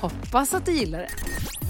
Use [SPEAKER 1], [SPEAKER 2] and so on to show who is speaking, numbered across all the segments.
[SPEAKER 1] Hoppas att du gillar det.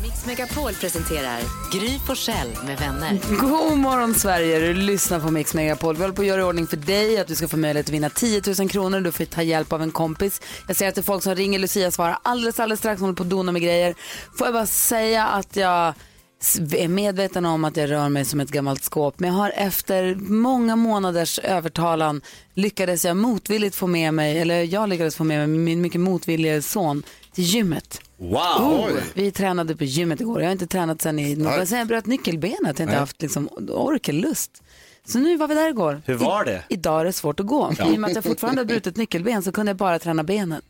[SPEAKER 2] Mix Megapol presenterar Gry Forssell med vänner.
[SPEAKER 3] God morgon Sverige, du lyssnar på Mix Megapol. Vi håller på att göra i ordning för dig att du ska få möjlighet att vinna 10 000 kronor. Du får ta hjälp av en kompis. Jag ser att det är folk som ringer. Lucia svarar alldeles, alldeles strax. Hon håller på att dona med grejer. Får jag bara säga att jag s- är medveten om att jag rör mig som ett gammalt skåp. Men jag har efter många månaders övertalan lyckades jag motvilligt få med mig, eller jag lyckades få med mig min mycket motvillige son till gymmet.
[SPEAKER 4] Wow!
[SPEAKER 3] Oh, vi tränade på gymmet igår. Jag har inte tränat sen i,
[SPEAKER 4] Nej.
[SPEAKER 3] sen jag bröt nyckelbenet. Jag har inte
[SPEAKER 4] Nej.
[SPEAKER 3] haft liksom, ork eller lust. Så nu var vi där igår.
[SPEAKER 4] Hur var det?
[SPEAKER 3] I, idag är det svårt att gå.
[SPEAKER 4] Ja.
[SPEAKER 3] I och med att jag fortfarande har brutit nyckelben så kunde jag bara träna benen.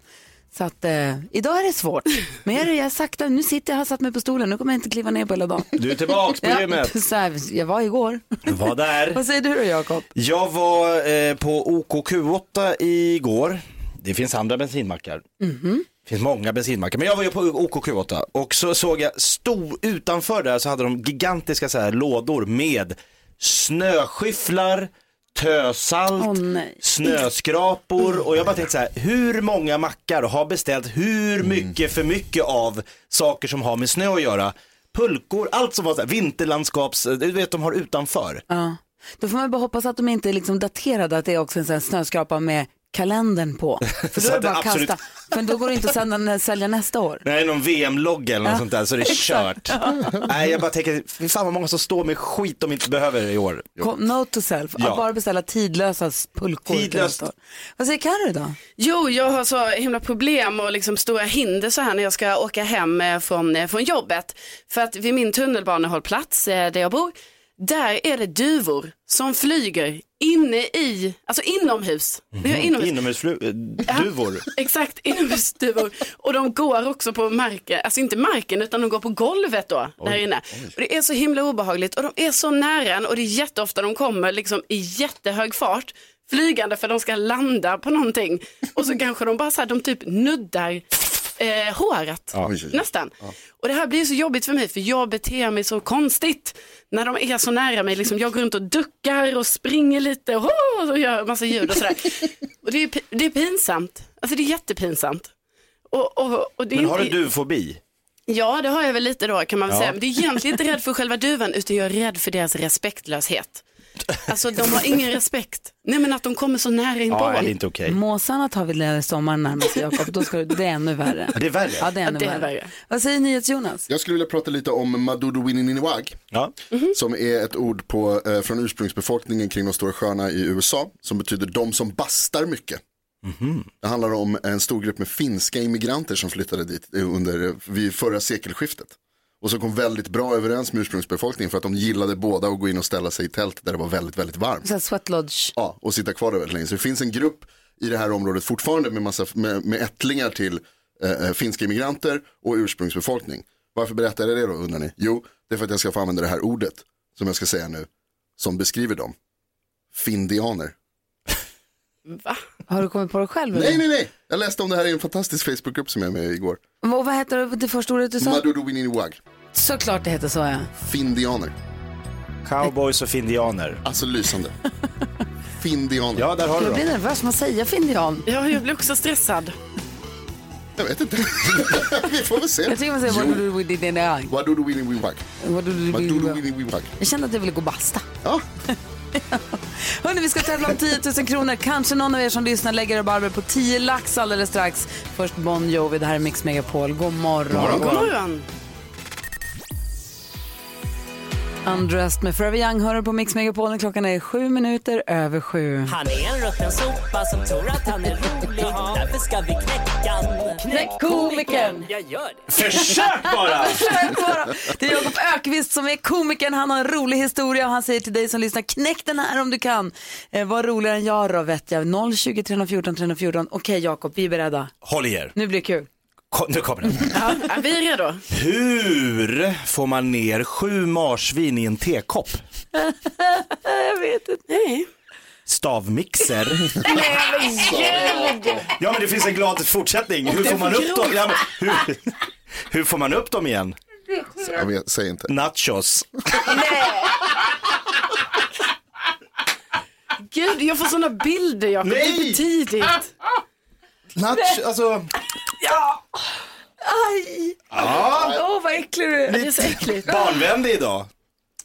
[SPEAKER 3] Så att eh, idag är det svårt. Men jag, är- jag är sakta, nu sitter jag, har satt mig på stolen, nu kommer jag inte kliva ner på hela dagen.
[SPEAKER 4] Du är tillbaks på
[SPEAKER 3] Ja,
[SPEAKER 4] gymmet.
[SPEAKER 3] så här, jag var igår.
[SPEAKER 4] Du var där.
[SPEAKER 3] Vad säger du då Jakob?
[SPEAKER 4] Jag var eh, på OKQ8 igår. Det finns andra bensinmackar.
[SPEAKER 3] Mhm.
[SPEAKER 4] Det finns många bensinmackar. Men jag var ju på OKQ8 och så såg jag, stod utanför där så hade de gigantiska så här lådor med snöskyfflar, tösalt,
[SPEAKER 3] Åh, nej.
[SPEAKER 4] snöskrapor och jag bara tänkte så här, hur många mackar har beställt hur mycket för mycket av saker som har med snö att göra? Pulkor, allt som var så här, vinterlandskaps, du vet de har utanför.
[SPEAKER 3] Ja. Då får man bara hoppas att de inte är liksom daterade, att det är också en sån här snöskrapa med kalendern på. För då
[SPEAKER 4] Så
[SPEAKER 3] är det
[SPEAKER 4] att det
[SPEAKER 3] bara att
[SPEAKER 4] absolut-
[SPEAKER 3] kasta. För då går det inte att sända, sälja nästa år.
[SPEAKER 4] Nej, någon VM-logg eller något sånt där så det är kört. Nej, jag bara tänker, fy fan vad många som står med skit de inte behöver i år.
[SPEAKER 3] Kom, note to self,
[SPEAKER 4] Ja.
[SPEAKER 3] att bara beställa tidlösa pulkor. till
[SPEAKER 4] Tidlöst.
[SPEAKER 3] nästa år. Vad säger Carro då?
[SPEAKER 5] Jo, jag har så himla problem och liksom stora hinder så här när jag ska åka hem eh, från, eh, från jobbet. För att vid min tunnelbanehållplats eh, där jag bor, där är det duvor som flyger inne i, alltså inomhus. Det är inomhus.
[SPEAKER 4] Inomhusduvor.
[SPEAKER 5] Exakt, inomhusduvor. Och de går också på marken, alltså inte marken utan de går på golvet då, där inne. Och det är så himla obehagligt och de är så nära en och det är jätteofta de kommer liksom i jättehög fart flygande för de ska landa på någonting. Och så kanske de bara så här, de typ nuddar eh, håret. Nästan. Och det här blir så jobbigt för mig för jag beter mig så konstigt när de är så nära mig. Liksom, jag går runt och duckar och springer lite och, "Åh!" och gör massa ljud och sådär. och det är, pi- det är pinsamt. Alltså det är jättepinsamt. Och, och, och det är
[SPEAKER 4] Men har du
[SPEAKER 5] inte...
[SPEAKER 4] duvfobi?
[SPEAKER 5] Ja, det har jag väl lite då kan man väl
[SPEAKER 4] Ja.
[SPEAKER 5] säga. Men det är egentligen inte rädd för själva duvan utan jag är rädd för deras respektlöshet. Alltså de har ingen respekt. Nej men att de kommer så nära in på
[SPEAKER 4] Ja, det är
[SPEAKER 5] en.
[SPEAKER 4] inte okej.
[SPEAKER 3] Måsarna tar vi lä- sommaren närmast sig, Jakob, då ska du, det är ännu värre.
[SPEAKER 4] Det är värre.
[SPEAKER 3] Ja, det är ännu
[SPEAKER 5] det är
[SPEAKER 3] värre.
[SPEAKER 5] värre.
[SPEAKER 3] Vad säger NyhetsJonas?
[SPEAKER 6] Jag skulle vilja prata lite om Madudu Winninwag,
[SPEAKER 4] Ja.
[SPEAKER 6] som är ett ord på, eh, från ursprungsbefolkningen kring de stora sjöarna i USA, som betyder de som bastar mycket. Det handlar om en stor grupp med finska immigranter som flyttade dit eh, under, eh, vid förra sekelskiftet. Och som kom väldigt bra överens med ursprungsbefolkningen för att de gillade båda att gå in och ställa sig i tält där det var väldigt, väldigt varmt.
[SPEAKER 3] Så här sweat lodge.
[SPEAKER 6] Ja, och sitta kvar där väldigt länge. Så det finns en grupp i det här området fortfarande med, massa, med, med ättlingar till eh, eh, finska immigranter och ursprungsbefolkning. Varför berättar jag det då undrar ni? Jo, det är för att jag ska få använda det här ordet som jag ska säga nu som beskriver dem. Findianer.
[SPEAKER 3] Mm.
[SPEAKER 5] Va?
[SPEAKER 3] Har du kommit på det själv? eller?
[SPEAKER 6] Nej, nej, nej! Jag läste om det här i en fantastisk Facebookgrupp som jag är med i igår.
[SPEAKER 3] Och vad heter det första ordet du sa?
[SPEAKER 6] Madudowininiwag.
[SPEAKER 3] Såklart det heter så ja.
[SPEAKER 6] Findianer.
[SPEAKER 4] Cowboys och findianer.
[SPEAKER 6] Alltså lysande. Findianer.
[SPEAKER 4] Ja, där har du
[SPEAKER 3] Jag blir
[SPEAKER 4] dem.
[SPEAKER 3] nervös, man säger findian.
[SPEAKER 5] Ja, jag blir också stressad.
[SPEAKER 6] Jag vet inte. Vi får väl se.
[SPEAKER 3] Jag tycker man säger what do
[SPEAKER 6] Jo,
[SPEAKER 3] you with in the eye?
[SPEAKER 6] Madudowininiwag.
[SPEAKER 3] What do you do with in the eye?
[SPEAKER 6] Madudowininiwag.
[SPEAKER 3] Jag kände att jag ville gå och basta.
[SPEAKER 6] Ja.
[SPEAKER 3] Hörrni, vi ska tävla om 10 000 kronor. Kanske någon av er som lyssnar lägger rabarber på 10 lax alldeles strax. Först Bon Jovi, det här är Mix Megapol. God morgon.
[SPEAKER 5] God morgon.
[SPEAKER 3] Undressed med Forever Young hör du på Mix Megapolen. Klockan är sju minuter över sju.
[SPEAKER 7] Han är en rutten sopa som tror att han är rolig. Därför ska vi knäcka han.
[SPEAKER 3] Knäck komikern!
[SPEAKER 7] Jag gör det.
[SPEAKER 4] Försök bara!
[SPEAKER 3] Det är Jakob Ökvist som är komikern. Han har en rolig historia och han säger till dig som lyssnar, knäck den här om du kan. Eh, var roligare än jag då vet jag. 020 314 314. Okej Jakob, vi är beredda.
[SPEAKER 4] Håll i er,
[SPEAKER 3] Nu blir det kul.
[SPEAKER 4] Kom, nu kommer den.
[SPEAKER 5] Ja, ja, vi är redo.
[SPEAKER 4] Hur får man ner sju marsvin i en tekopp?
[SPEAKER 3] Jag vet inte.
[SPEAKER 5] Nej.
[SPEAKER 4] Stavmixer. ja men det finns en glad fortsättning. Hur får man upp dem? Ja, men, hur, hur får man upp dem igen?
[SPEAKER 6] Jag vet, säg inte.
[SPEAKER 4] Nachos.
[SPEAKER 5] Gud, jag får sådana bilder Jakob. Det är
[SPEAKER 4] Nej!
[SPEAKER 5] för tidigt.
[SPEAKER 4] Nach, alltså,
[SPEAKER 3] Aj! Åh vad äcklig du är.
[SPEAKER 5] Det är så äckligt.
[SPEAKER 4] barnvänlig idag.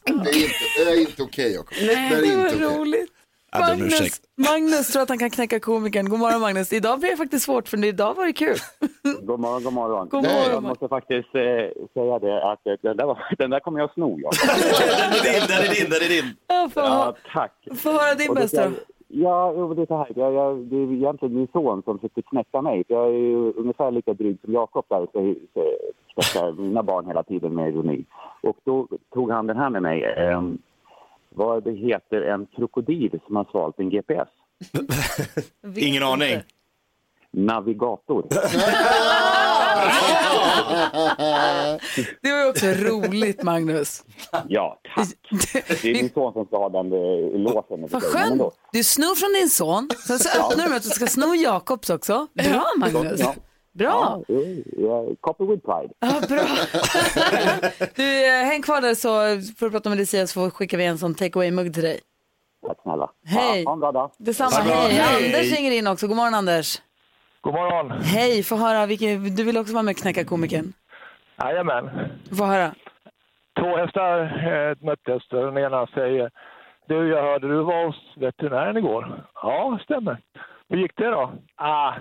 [SPEAKER 6] Det är inte, det är inte okej Jakob. Det är
[SPEAKER 3] Det var
[SPEAKER 6] inte okej.
[SPEAKER 3] roligt.
[SPEAKER 4] Jag ber om
[SPEAKER 3] Magnus,
[SPEAKER 4] ursäkt.
[SPEAKER 3] Magnus tror att han kan knäcka komikern. God morgon Magnus. Idag blir det faktiskt svårt för idag var det kul.
[SPEAKER 8] God morgon, god morgon.
[SPEAKER 3] God
[SPEAKER 6] Nej.
[SPEAKER 8] Jag
[SPEAKER 3] morgon.
[SPEAKER 8] måste faktiskt eh, säga det att eh, den där, var, den där kommer jag sno. Jag.
[SPEAKER 4] Den är din, den är din, den är din.
[SPEAKER 3] Ja, Få
[SPEAKER 8] Ja,
[SPEAKER 3] ja,
[SPEAKER 8] tack.
[SPEAKER 3] höra din
[SPEAKER 8] Och då
[SPEAKER 3] bästa
[SPEAKER 8] ska
[SPEAKER 3] då.
[SPEAKER 8] Ja, jo, det är så här. Jag, jag, det är egentligen min son som försökte knäcka mig. För jag är ju ungefär lika dryg som Jakob där och så- så knäcker mina barn hela tiden med ironi. Och då tog han den här med mig. Eh, vad det heter en krokodil som har svalt en GPS?
[SPEAKER 4] Ingen aning.
[SPEAKER 8] Navigator.
[SPEAKER 3] Det var ju också roligt Magnus.
[SPEAKER 8] Ja, tack. Det är min son som ska ha den eh, låsen.
[SPEAKER 3] Vad
[SPEAKER 8] Men
[SPEAKER 3] skönt.
[SPEAKER 8] ändå.
[SPEAKER 3] Du snor från din son, sen så öppnar du med att du ska sno Jakobs också. Bra Magnus.
[SPEAKER 8] Ja.
[SPEAKER 3] Bra.
[SPEAKER 8] Ja, eh, copy with pride.
[SPEAKER 3] Ja, bra. Du, eh, häng kvar där så får du prata med Lucia så skickar vi en sån take away-mugg till dig.
[SPEAKER 8] Tack snälla.
[SPEAKER 3] Hej.
[SPEAKER 8] Ja, Ha en bra dag.
[SPEAKER 3] Detsamma.
[SPEAKER 4] Tack.
[SPEAKER 3] Hej.
[SPEAKER 4] Hej.
[SPEAKER 3] Anders ringer in också. God morgon Anders.
[SPEAKER 8] God morgon.
[SPEAKER 3] Hej, få höra. Vilken, du vill också vara med och knäcka komikern.
[SPEAKER 8] Jajamän.
[SPEAKER 3] Få höra.
[SPEAKER 8] Två hästar eh, möttes. där Den ena säger Du, jag hörde du var hos veterinären igår. Ja, stämmer. Hur gick det då? Ah,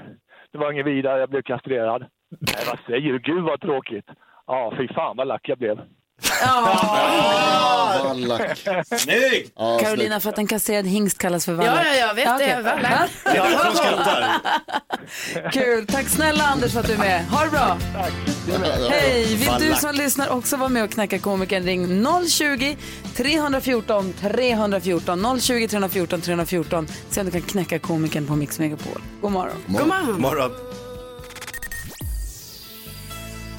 [SPEAKER 8] det var inget vidare. Jag blev kastrerad. Nej, vad säger du? Gud vad tråkigt. Ja, fy fan vad lack jag blev.
[SPEAKER 6] Ah, vad lack.
[SPEAKER 4] Snyggt!
[SPEAKER 6] Ja,
[SPEAKER 3] Carolina, för att en kastrerad hingst kallas för vallack.
[SPEAKER 5] Ja, ja, jag vet
[SPEAKER 3] Ja,
[SPEAKER 5] det.
[SPEAKER 3] okej.
[SPEAKER 5] Jag vet.
[SPEAKER 4] Det är du som skrattar.
[SPEAKER 3] Kul. Tack snälla Anders för att du är med. Ha det bra. Hej! Vill du som lyssnar också vara med och knäcka komikern ring 020 314 314 020 314 314 se om du kan knäcka komikern på Mix Megapol. God morgon.
[SPEAKER 5] God morgon.
[SPEAKER 4] Morgon.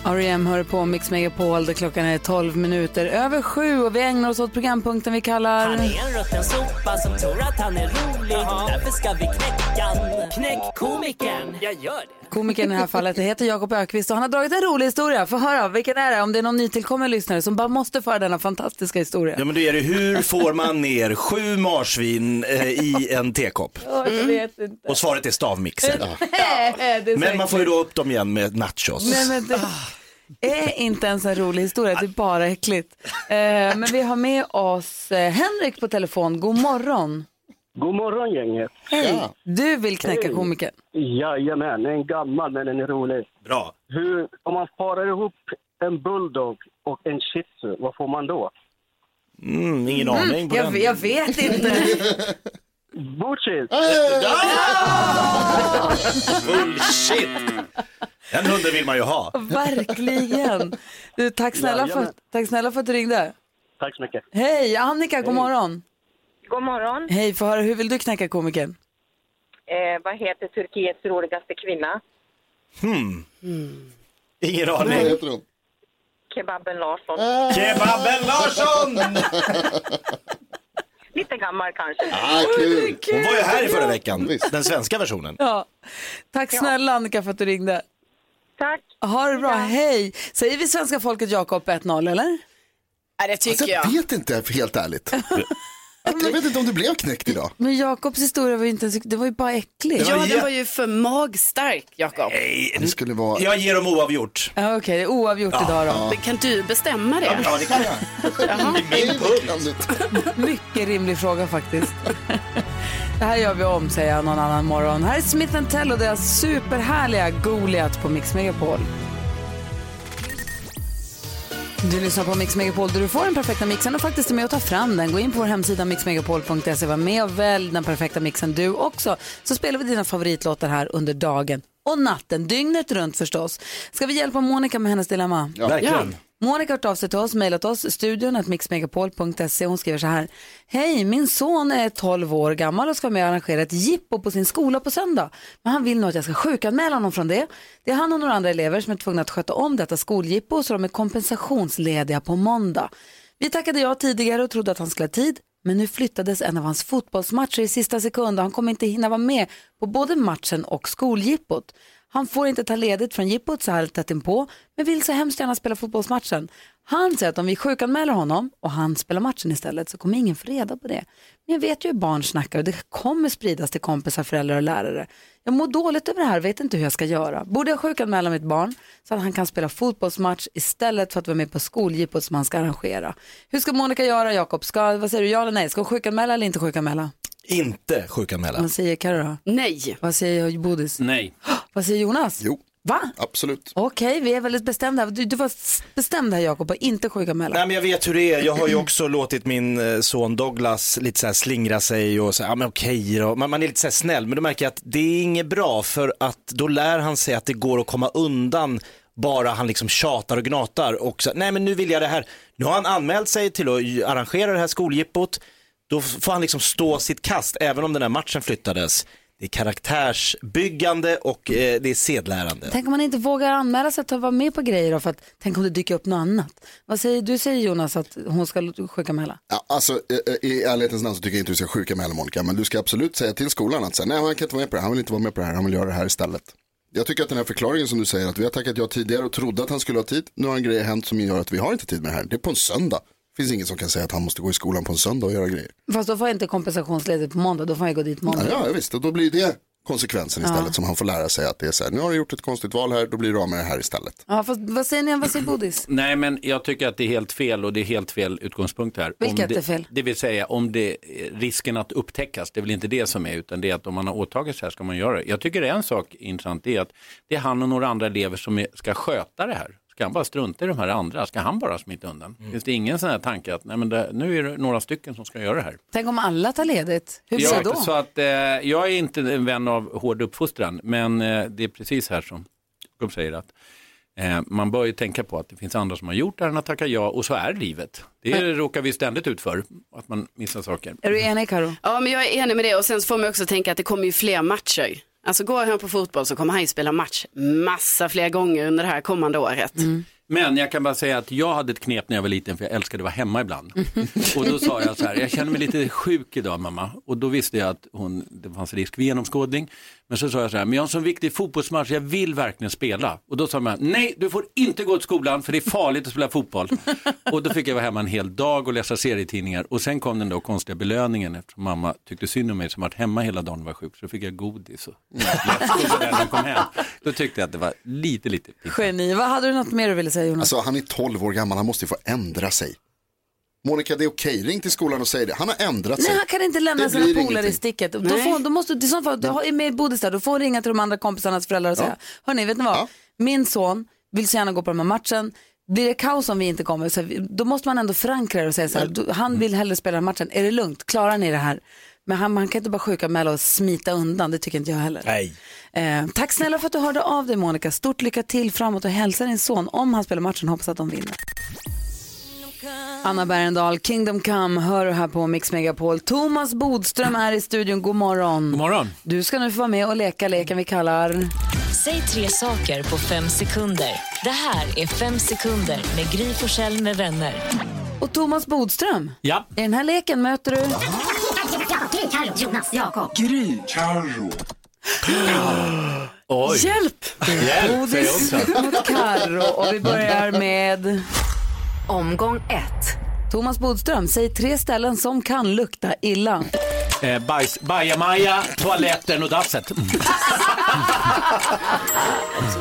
[SPEAKER 3] R.E.M. E hör på Mix Megapol där klockan är 12 minuter över sju och vi ägnar oss åt programpunkten vi
[SPEAKER 7] Han
[SPEAKER 3] kallar...
[SPEAKER 7] är en rutten sopa som tror att han är rolig. Därför ska vi knäcka han. Knäck komikern. Jag gör det.
[SPEAKER 3] Komikern i det här fallet det heter Jakob Ökvist och han har dragit en rolig historia. Få höra, vilken är det? Om det är någon nytillkommen lyssnare som bara måste föra denna fantastiska historia.
[SPEAKER 4] Ja men då är det hur får man ner sju marsvin eh, i en tekopp?
[SPEAKER 3] jag vet inte.
[SPEAKER 4] Och svaret är stavmixer.
[SPEAKER 3] det är så
[SPEAKER 4] Men man får ju då upp dem igen med nachos.
[SPEAKER 3] Nej, men det är inte ens en rolig historia, det är bara äckligt. Eh, men vi har med oss eh, Henrik på telefon. God morgon.
[SPEAKER 8] God morgon gänget.
[SPEAKER 3] Hej. Du vill knäcka komikern.
[SPEAKER 8] Jajamän, en gammal men en rolig.
[SPEAKER 4] Bra.
[SPEAKER 8] Hur, om man parar ihop en bulldog och en shih tzu, vad får man då?
[SPEAKER 4] Mm, ingen aning på
[SPEAKER 3] Jag,
[SPEAKER 4] den.
[SPEAKER 3] jag vet inte.
[SPEAKER 8] Butchis!
[SPEAKER 4] Bullshit! Den hunden vill man ju ha.
[SPEAKER 3] Verkligen. Du, tack, snälla för, tack snälla för att du ringde.
[SPEAKER 8] Tack så mycket.
[SPEAKER 3] Hej, Annika, god morgon.
[SPEAKER 9] God morgon.
[SPEAKER 3] Hej, få höra, hur vill du knäcka komikern?
[SPEAKER 9] Eh, vad heter Turkiets roligaste kvinna?
[SPEAKER 4] Ingen
[SPEAKER 6] vad
[SPEAKER 4] aning.
[SPEAKER 6] heter hon?
[SPEAKER 9] Kebaben Larsson.
[SPEAKER 4] Eh. Kebaben Larsson!
[SPEAKER 9] Lite gammal kanske.
[SPEAKER 6] Ah, kul.
[SPEAKER 4] Hon var ju här i förra veckan.
[SPEAKER 6] Visst.
[SPEAKER 4] Den svenska versionen.
[SPEAKER 3] Ja. Tack snälla Annika för att du ringde.
[SPEAKER 9] Tack.
[SPEAKER 3] Ha det bra, hej. Säger vi svenska folket Jakob 1-0 eller?
[SPEAKER 5] Ja, det tycker
[SPEAKER 6] Alltså,
[SPEAKER 5] jag.
[SPEAKER 6] jag vet inte, helt ärligt. Att, jag vet inte om du blev knäckt idag.
[SPEAKER 3] Men Jakobs historia var ju inte ens, det var ju bara äckligt.
[SPEAKER 5] Ja, den var ju för magstark, Jakob.
[SPEAKER 6] Det skulle vara...
[SPEAKER 4] Jag ger dem oavgjort.
[SPEAKER 3] Ja, Okej, det är oavgjort idag då.
[SPEAKER 5] Men Kan du bestämma det?
[SPEAKER 4] Ja, det kan jag.
[SPEAKER 3] Mycket rimlig fråga faktiskt. det här gör vi om, säger jag någon annan morgon. Här är Smith Tell och deras superhärliga Goliat på Mix Megapol. Du lyssnar på Mix Megapol där du får den perfekta mixen och faktiskt är med och tar fram den. Gå in på vår hemsida mixmegapol.se, var med och välj den perfekta mixen du också. Så spelar vi dina favoritlåtar här under dagen och natten, dygnet runt förstås. Ska vi hjälpa Monica med hennes dilemma?
[SPEAKER 4] Ja. Verkligen.
[SPEAKER 3] Monica har hört av sig till oss, mejlat oss, studion att mixmegapol.se. Hon skriver så här. Hej, min son är 12 år gammal och ska vara med och arrangera ett jippo på sin skola på söndag. Men han vill nog att jag ska sjukanmäla honom från det. Det är han och några andra elever som är tvungna att sköta om detta skoljippo så de är kompensationslediga på måndag. Vi tackade ja tidigare och trodde att han skulle ha tid. Men nu flyttades en av hans fotbollsmatcher i sista sekund och han kommer inte hinna vara med på både matchen och skoljippot. Han får inte ta ledigt från jippot så här tätt inpå, men vill så hemskt gärna spela fotbollsmatchen. Han säger att om vi sjukanmäler honom och han spelar matchen istället så kommer ingen få reda på det. Men jag vet ju hur barn snackar och det kommer spridas till kompisar, föräldrar och lärare. Jag mår dåligt över det här, vet inte hur jag ska göra. Borde jag sjukanmäla mitt barn så att han kan spela fotbollsmatch istället för att vara med på skoljippot som han ska arrangera? Hur ska Monica göra, Jakob? Ska, vad säger du, ja eller nej? Ska hon sjukanmäla eller inte sjukanmäla?
[SPEAKER 4] Inte sjukanmäla.
[SPEAKER 3] Vad säger Carro då?
[SPEAKER 5] Nej.
[SPEAKER 3] Vad säger Bodis?
[SPEAKER 10] Nej.
[SPEAKER 3] Vad säger Jonas?
[SPEAKER 6] Jo.
[SPEAKER 3] Va?
[SPEAKER 6] Absolut.
[SPEAKER 3] Okej, vi är väldigt bestämda. här. Du, du var s- bestämd här Jakob, att inte sjukanmäla.
[SPEAKER 4] Nej men jag vet hur det är, jag har ju också låtit min eh, son Douglas lite så här slingra sig och säga, ja men okej då. Man, man är lite så här snäll, men då märker jag att det är inget bra för att då lär han sig att det går att komma undan bara han liksom tjatar och gnatar och så, nej men nu vill jag det här. Nu har han anmält sig till att arrangera det här skoljippot, då f- får han liksom stå sitt kast även om den här matchen flyttades. Det är karaktärsbyggande och eh, det är sedlärande.
[SPEAKER 3] Tänk om man inte vågar anmäla sig till att vara med på grejer då, för att tänk om det dyker upp något annat. Vad säger du, säger Jonas, att hon ska sjukanmäla?
[SPEAKER 6] Ja, alltså i- i ärlighetens namn så tycker jag inte du ska sjuka med heller Monica, men du ska absolut säga till skolan att säga, nej han kan inte vara med på det här, han vill inte vara med på det här, han vill göra det här istället. Jag tycker att den här förklaringen som du säger att vi har tackat ja tidigare och trodde att han skulle ha tid, nu har en grej hänt som gör att vi har inte tid med det här, det är på en söndag. Det finns ingen som kan säga att han måste gå i skolan på en söndag och göra grejer.
[SPEAKER 3] Fast då får jag inte kompensationsledigt på måndag, då får jag gå dit måndag.
[SPEAKER 6] Ja, ja visst, och då blir det konsekvensen istället
[SPEAKER 3] Ja.
[SPEAKER 6] som han får lära sig att det är så här, nu har du gjort ett konstigt val här, då blir du av med det här istället.
[SPEAKER 3] Ja, fast, vad säger ni, vad säger Bodis?
[SPEAKER 10] Nej, men jag tycker att det är helt fel och det är helt fel utgångspunkt här.
[SPEAKER 3] Vilket
[SPEAKER 10] Om det,
[SPEAKER 3] är fel?
[SPEAKER 10] Det vill säga om det risken att upptäckas, det är väl inte det som är, utan det är att om man har åtagit sig här ska man göra det. Jag tycker det är en sak intressant, det är att det är han och några andra elever som är, ska sköta det här. Ska han bara strunta i de här andra? Ska han bara smita undan? Finns det ingen sån här tanke att nej, men det, nu är det några stycken som ska göra det här?
[SPEAKER 3] Tänk om alla tar ledigt, hur blir
[SPEAKER 10] ja,
[SPEAKER 3] det då?
[SPEAKER 10] Så att, eh, jag är inte en vän av hård uppfostran, men eh, det är precis här som Jakob säger att eh, man bör ju tänka på att det finns andra som har gjort det här än att tacka ja och så är livet. Det råkar vi ständigt ut för, att man missar saker.
[SPEAKER 3] Är du enig Karo?
[SPEAKER 5] Ja, men jag är enig med det och sen så får man också tänka att det kommer ju fler matcher. Alltså går han på fotboll så kommer han ju spela match massa fler gånger under det här kommande året.
[SPEAKER 10] Men jag kan bara säga att jag hade ett knep när jag var liten för jag älskade att vara hemma ibland. Och då sa jag så här, jag känner mig lite sjuk idag mamma. Och då visste jag att hon, det fanns risk för genomskådning. Men så sa jag så här, men jag har en sån viktig fotbollsmatch, jag vill verkligen spela. Och då sa man, nej du får inte gå till skolan för det är farligt att spela fotboll. Och då fick jag vara hemma en hel dag och läsa serietidningar. Och sen kom den då konstiga belöningen eftersom mamma tyckte synd om mig som varit hemma hela dagen och var sjuk. Så fick jag godis och läskgodis när jag kom hem. Då tyckte jag att det var lite, lite
[SPEAKER 3] Geni, vad hade du något mer du ville säga Jonas?
[SPEAKER 6] Alltså han är 12 år gammal, han måste ju få ändra sig. Monica, det är okej, ring till skolan och säg det. Han har ändrat sig.
[SPEAKER 3] Nej, han kan inte lämna
[SPEAKER 6] Det
[SPEAKER 3] sina
[SPEAKER 6] blir
[SPEAKER 3] polare i
[SPEAKER 6] ingenting.
[SPEAKER 3] sticket. Då får, då måste, I så fall, då har- är med Bodis där, då får hon ringa till de andra kompisarnas föräldrar och säga, hörni, vet ni vad? Min son vill så gärna gå på den här matchen. Blir det kaos om vi inte kommer, så här, vi- då måste man ändå förankra det och säga så här, "Du- han vill hellre spela den här matchen. Är det lugnt? Klarar ni det här? Men han, man kan inte bara sjukanmäla och smita undan, det tycker inte jag heller.
[SPEAKER 4] Nej.
[SPEAKER 3] Eh, tack snälla för att du hörde av dig Monica. Stort lycka till framåt och hälsa din son om han spelar matchen. Hoppas att de vinner. Anna Bergendahl, Kingdom Come, hör du här på Mix Megapol. Thomas Bodström är i studion, god morgon. God
[SPEAKER 10] morgon.
[SPEAKER 3] Du ska nu få vara med och leka leken vi kallar...
[SPEAKER 2] Säg tre saker på fem sekunder. Det här är Fem sekunder med Gry Forssell med vänner.
[SPEAKER 3] Och Thomas Bodström,
[SPEAKER 10] ja.
[SPEAKER 3] i den här leken möter du...
[SPEAKER 2] Gry, Carro, Jonas, Jakob.
[SPEAKER 3] Gry.
[SPEAKER 7] Carro.
[SPEAKER 10] Oj.
[SPEAKER 3] Hjälp! Bodis mot Karro och vi börjar med... Omgång ett. Thomas Bodström, säg tre ställen som kan lukta illa.
[SPEAKER 10] Eh, bajs, bajamaja, toaletten och dasset. Mm.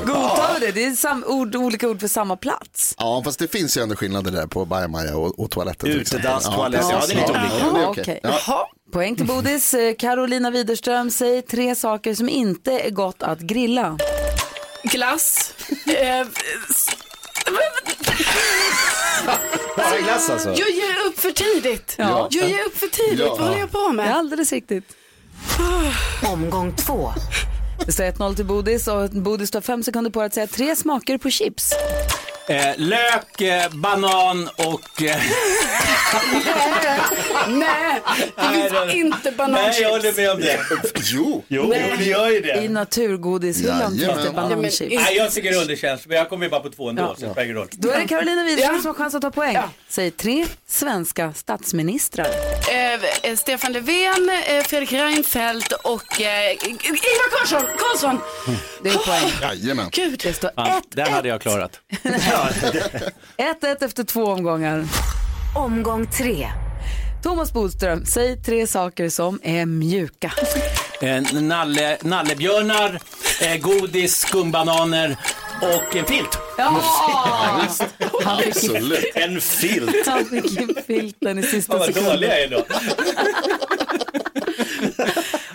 [SPEAKER 3] Godtar vi det? Det är sam- ord, olika ord för samma plats.
[SPEAKER 6] Ja, fast det finns ju ändå skillnader där på bajamaja och, och toaletten. till exempel.
[SPEAKER 4] Utedass, toalett, ja, det är lite
[SPEAKER 6] precis.
[SPEAKER 4] olika.
[SPEAKER 6] Ja, det är
[SPEAKER 3] Jaha,
[SPEAKER 6] okej.
[SPEAKER 3] okej.
[SPEAKER 6] Ja.
[SPEAKER 3] Poäng till Bodis. Eh, Carolina Widerström, säg tre saker som inte är gott att grilla.
[SPEAKER 5] Glass. Eh, s-
[SPEAKER 4] Bara glass alltså?
[SPEAKER 5] Jag ger upp för tidigt.
[SPEAKER 4] Ja.
[SPEAKER 5] Jag ger upp för tidigt.
[SPEAKER 4] Ja.
[SPEAKER 5] Vad håller jag på med?
[SPEAKER 3] Ja, alldeles riktigt. Omgång två. Det står 1-0 till Bodis och Bodis tar fem sekunder på att säga tre smaker på chips.
[SPEAKER 10] Eh, lök, eh, banan och... Eh,
[SPEAKER 5] Nej, det
[SPEAKER 10] Nej,
[SPEAKER 5] finns
[SPEAKER 10] det-
[SPEAKER 5] inte
[SPEAKER 10] Nej, jag
[SPEAKER 5] bananchips.
[SPEAKER 10] håller med om det.
[SPEAKER 6] Jo,
[SPEAKER 10] jo det gör ju
[SPEAKER 3] I
[SPEAKER 10] det.
[SPEAKER 3] naturgodishyllan finns det bananchips.
[SPEAKER 10] Nej, jag tycker det underkänns, men jag kommer ju bara på två ändå,
[SPEAKER 3] Ja.
[SPEAKER 10] så det spelar ingen roll.
[SPEAKER 3] Då är det Carolina Widerström som har chans att ta poäng. Säg tre svenska statsministrar.
[SPEAKER 5] Eh, eh, Stefan Löfven, eh, Fredrik Reinfeldt och eh, Ingvar Carlsson. Carlsson.
[SPEAKER 3] Det är poäng.
[SPEAKER 6] Jajamän.
[SPEAKER 5] Gud.
[SPEAKER 3] Det står
[SPEAKER 10] Fan, den hade jag klarat.
[SPEAKER 3] 1-1 efter två omgångar. Omgång tre. Thomas Bodström, säg tre saker som är mjuka.
[SPEAKER 10] Eh, nalle, nallebjörnar, eh, godis, skumbananer och en filt.
[SPEAKER 3] Ja! Han fick-
[SPEAKER 10] Absolut. En filt.
[SPEAKER 3] Han fick in filten i
[SPEAKER 10] Fan
[SPEAKER 3] sista
[SPEAKER 10] vad
[SPEAKER 3] sekunden.
[SPEAKER 10] dålig jag är då.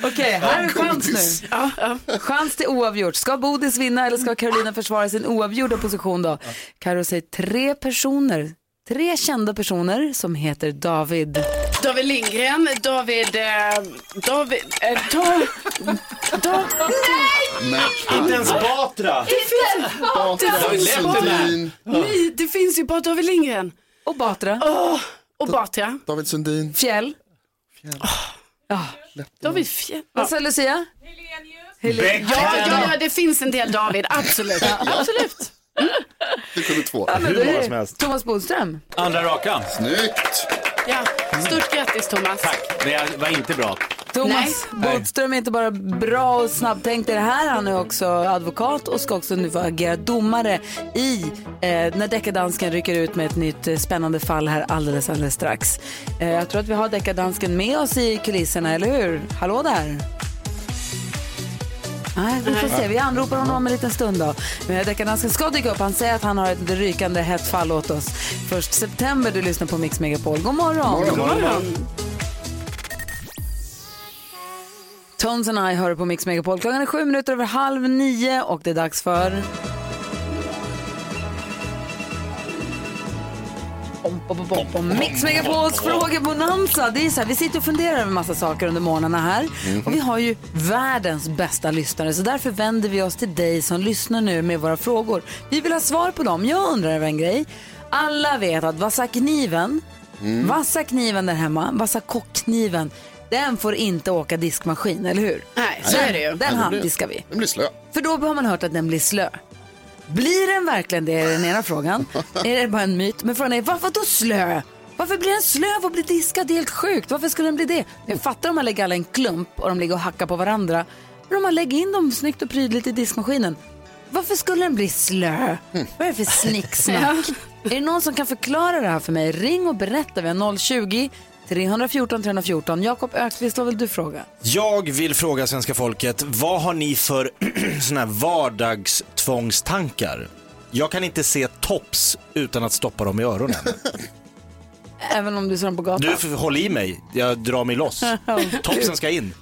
[SPEAKER 3] Okej, här är en chans nu. Chans till oavgjort. Ska Bodis vinna eller ska Carolina försvara sin oavgjorda position då? Karo säger tre personer, tre kända personer som heter David.
[SPEAKER 5] David Lindgren, David... Eh, David... Eh, da, da, nej!
[SPEAKER 4] Inte ens Batra.
[SPEAKER 5] Det finns
[SPEAKER 4] Batra,
[SPEAKER 6] Sundin.
[SPEAKER 5] Nej, det finns ju bara David Lindgren.
[SPEAKER 3] Och Batra.
[SPEAKER 5] och Batra.
[SPEAKER 6] David Sundin.
[SPEAKER 3] Fjäll.
[SPEAKER 5] David Fjell.
[SPEAKER 3] Vad sa Lucia? Helenius.
[SPEAKER 5] Ja, ja, ja, det finns en del David, absolut. absolut.
[SPEAKER 6] Det kunde två.
[SPEAKER 3] Ja, men då är det Thomas Bodström.
[SPEAKER 10] Andra raka.
[SPEAKER 6] Snyggt.
[SPEAKER 5] Ja, stort grattis Thomas.
[SPEAKER 10] Tack, men jag var inte bra.
[SPEAKER 3] Thomas
[SPEAKER 10] Nej.
[SPEAKER 3] Bodström är inte bara bra och snabbtänkt i det här, han är också advokat och ska också nu få agera domare i eh, när deckardansken rycker ut med ett nytt eh, spännande fall här alldeles, alldeles strax. Eh, jag tror att vi har deckardansken med oss i kulisserna, eller hur? Hallå där! Nej, vi får se. Vi anropar honom om en liten stund då. Men Deckardansken ska dyka upp. Han säger att han har ett rykande hett fall åt oss. Först september, du lyssnar på Mix Megapol. God morgon!
[SPEAKER 6] God morgon.
[SPEAKER 3] Tones and I hör på Mix Megapol. Klockan är sju minuter över halv nio och det är dags för... Om, om, om, om, om. Mix Megapols frågebonanza. Det är så här, vi sitter och funderar över massa saker under morgnarna här.
[SPEAKER 7] Mhm.
[SPEAKER 3] Och vi har ju världens bästa lyssnare. Så därför vänder vi oss till dig som lyssnar nu med våra frågor. Vi vill ha svar på dem. Jag undrar över en grej. Alla vet att vassa kniven,
[SPEAKER 5] Mm.
[SPEAKER 3] vassa kniven där hemma, vassa kockkniven, den får inte åka diskmaskin, eller hur?
[SPEAKER 5] Nej, så
[SPEAKER 3] den,
[SPEAKER 5] är det ju.
[SPEAKER 3] Den handdiskar vi.
[SPEAKER 6] Den blir slö.
[SPEAKER 3] För då har man hört att den blir slö. Blir den verkligen det är den ena frågan. är det bara en myt? Men frågan är varför då slö? Varför blir den slö av att bli diskad? Det är helt sjukt. Varför skulle den bli det? Jag fattar om man lägger alla i en klump och de ligger och hackar på varandra. Men om man lägger in dem snyggt och prydligt i diskmaskinen. Varför skulle den bli slö? Vad är det för snicksnack? Är det någon som kan förklara det här för mig? Ring och berätta. Vi har 020 314 314. Jakob Ökvist, vad vill du fråga?
[SPEAKER 4] Jag vill fråga svenska folket, vad har ni för såna här vardagstvångstankar? Jag kan inte se tops utan att stoppa dem i öronen.
[SPEAKER 3] Även om du ser dem på gatan.
[SPEAKER 4] Du, f- håll i mig. Jag drar mig loss. Topsen ska in.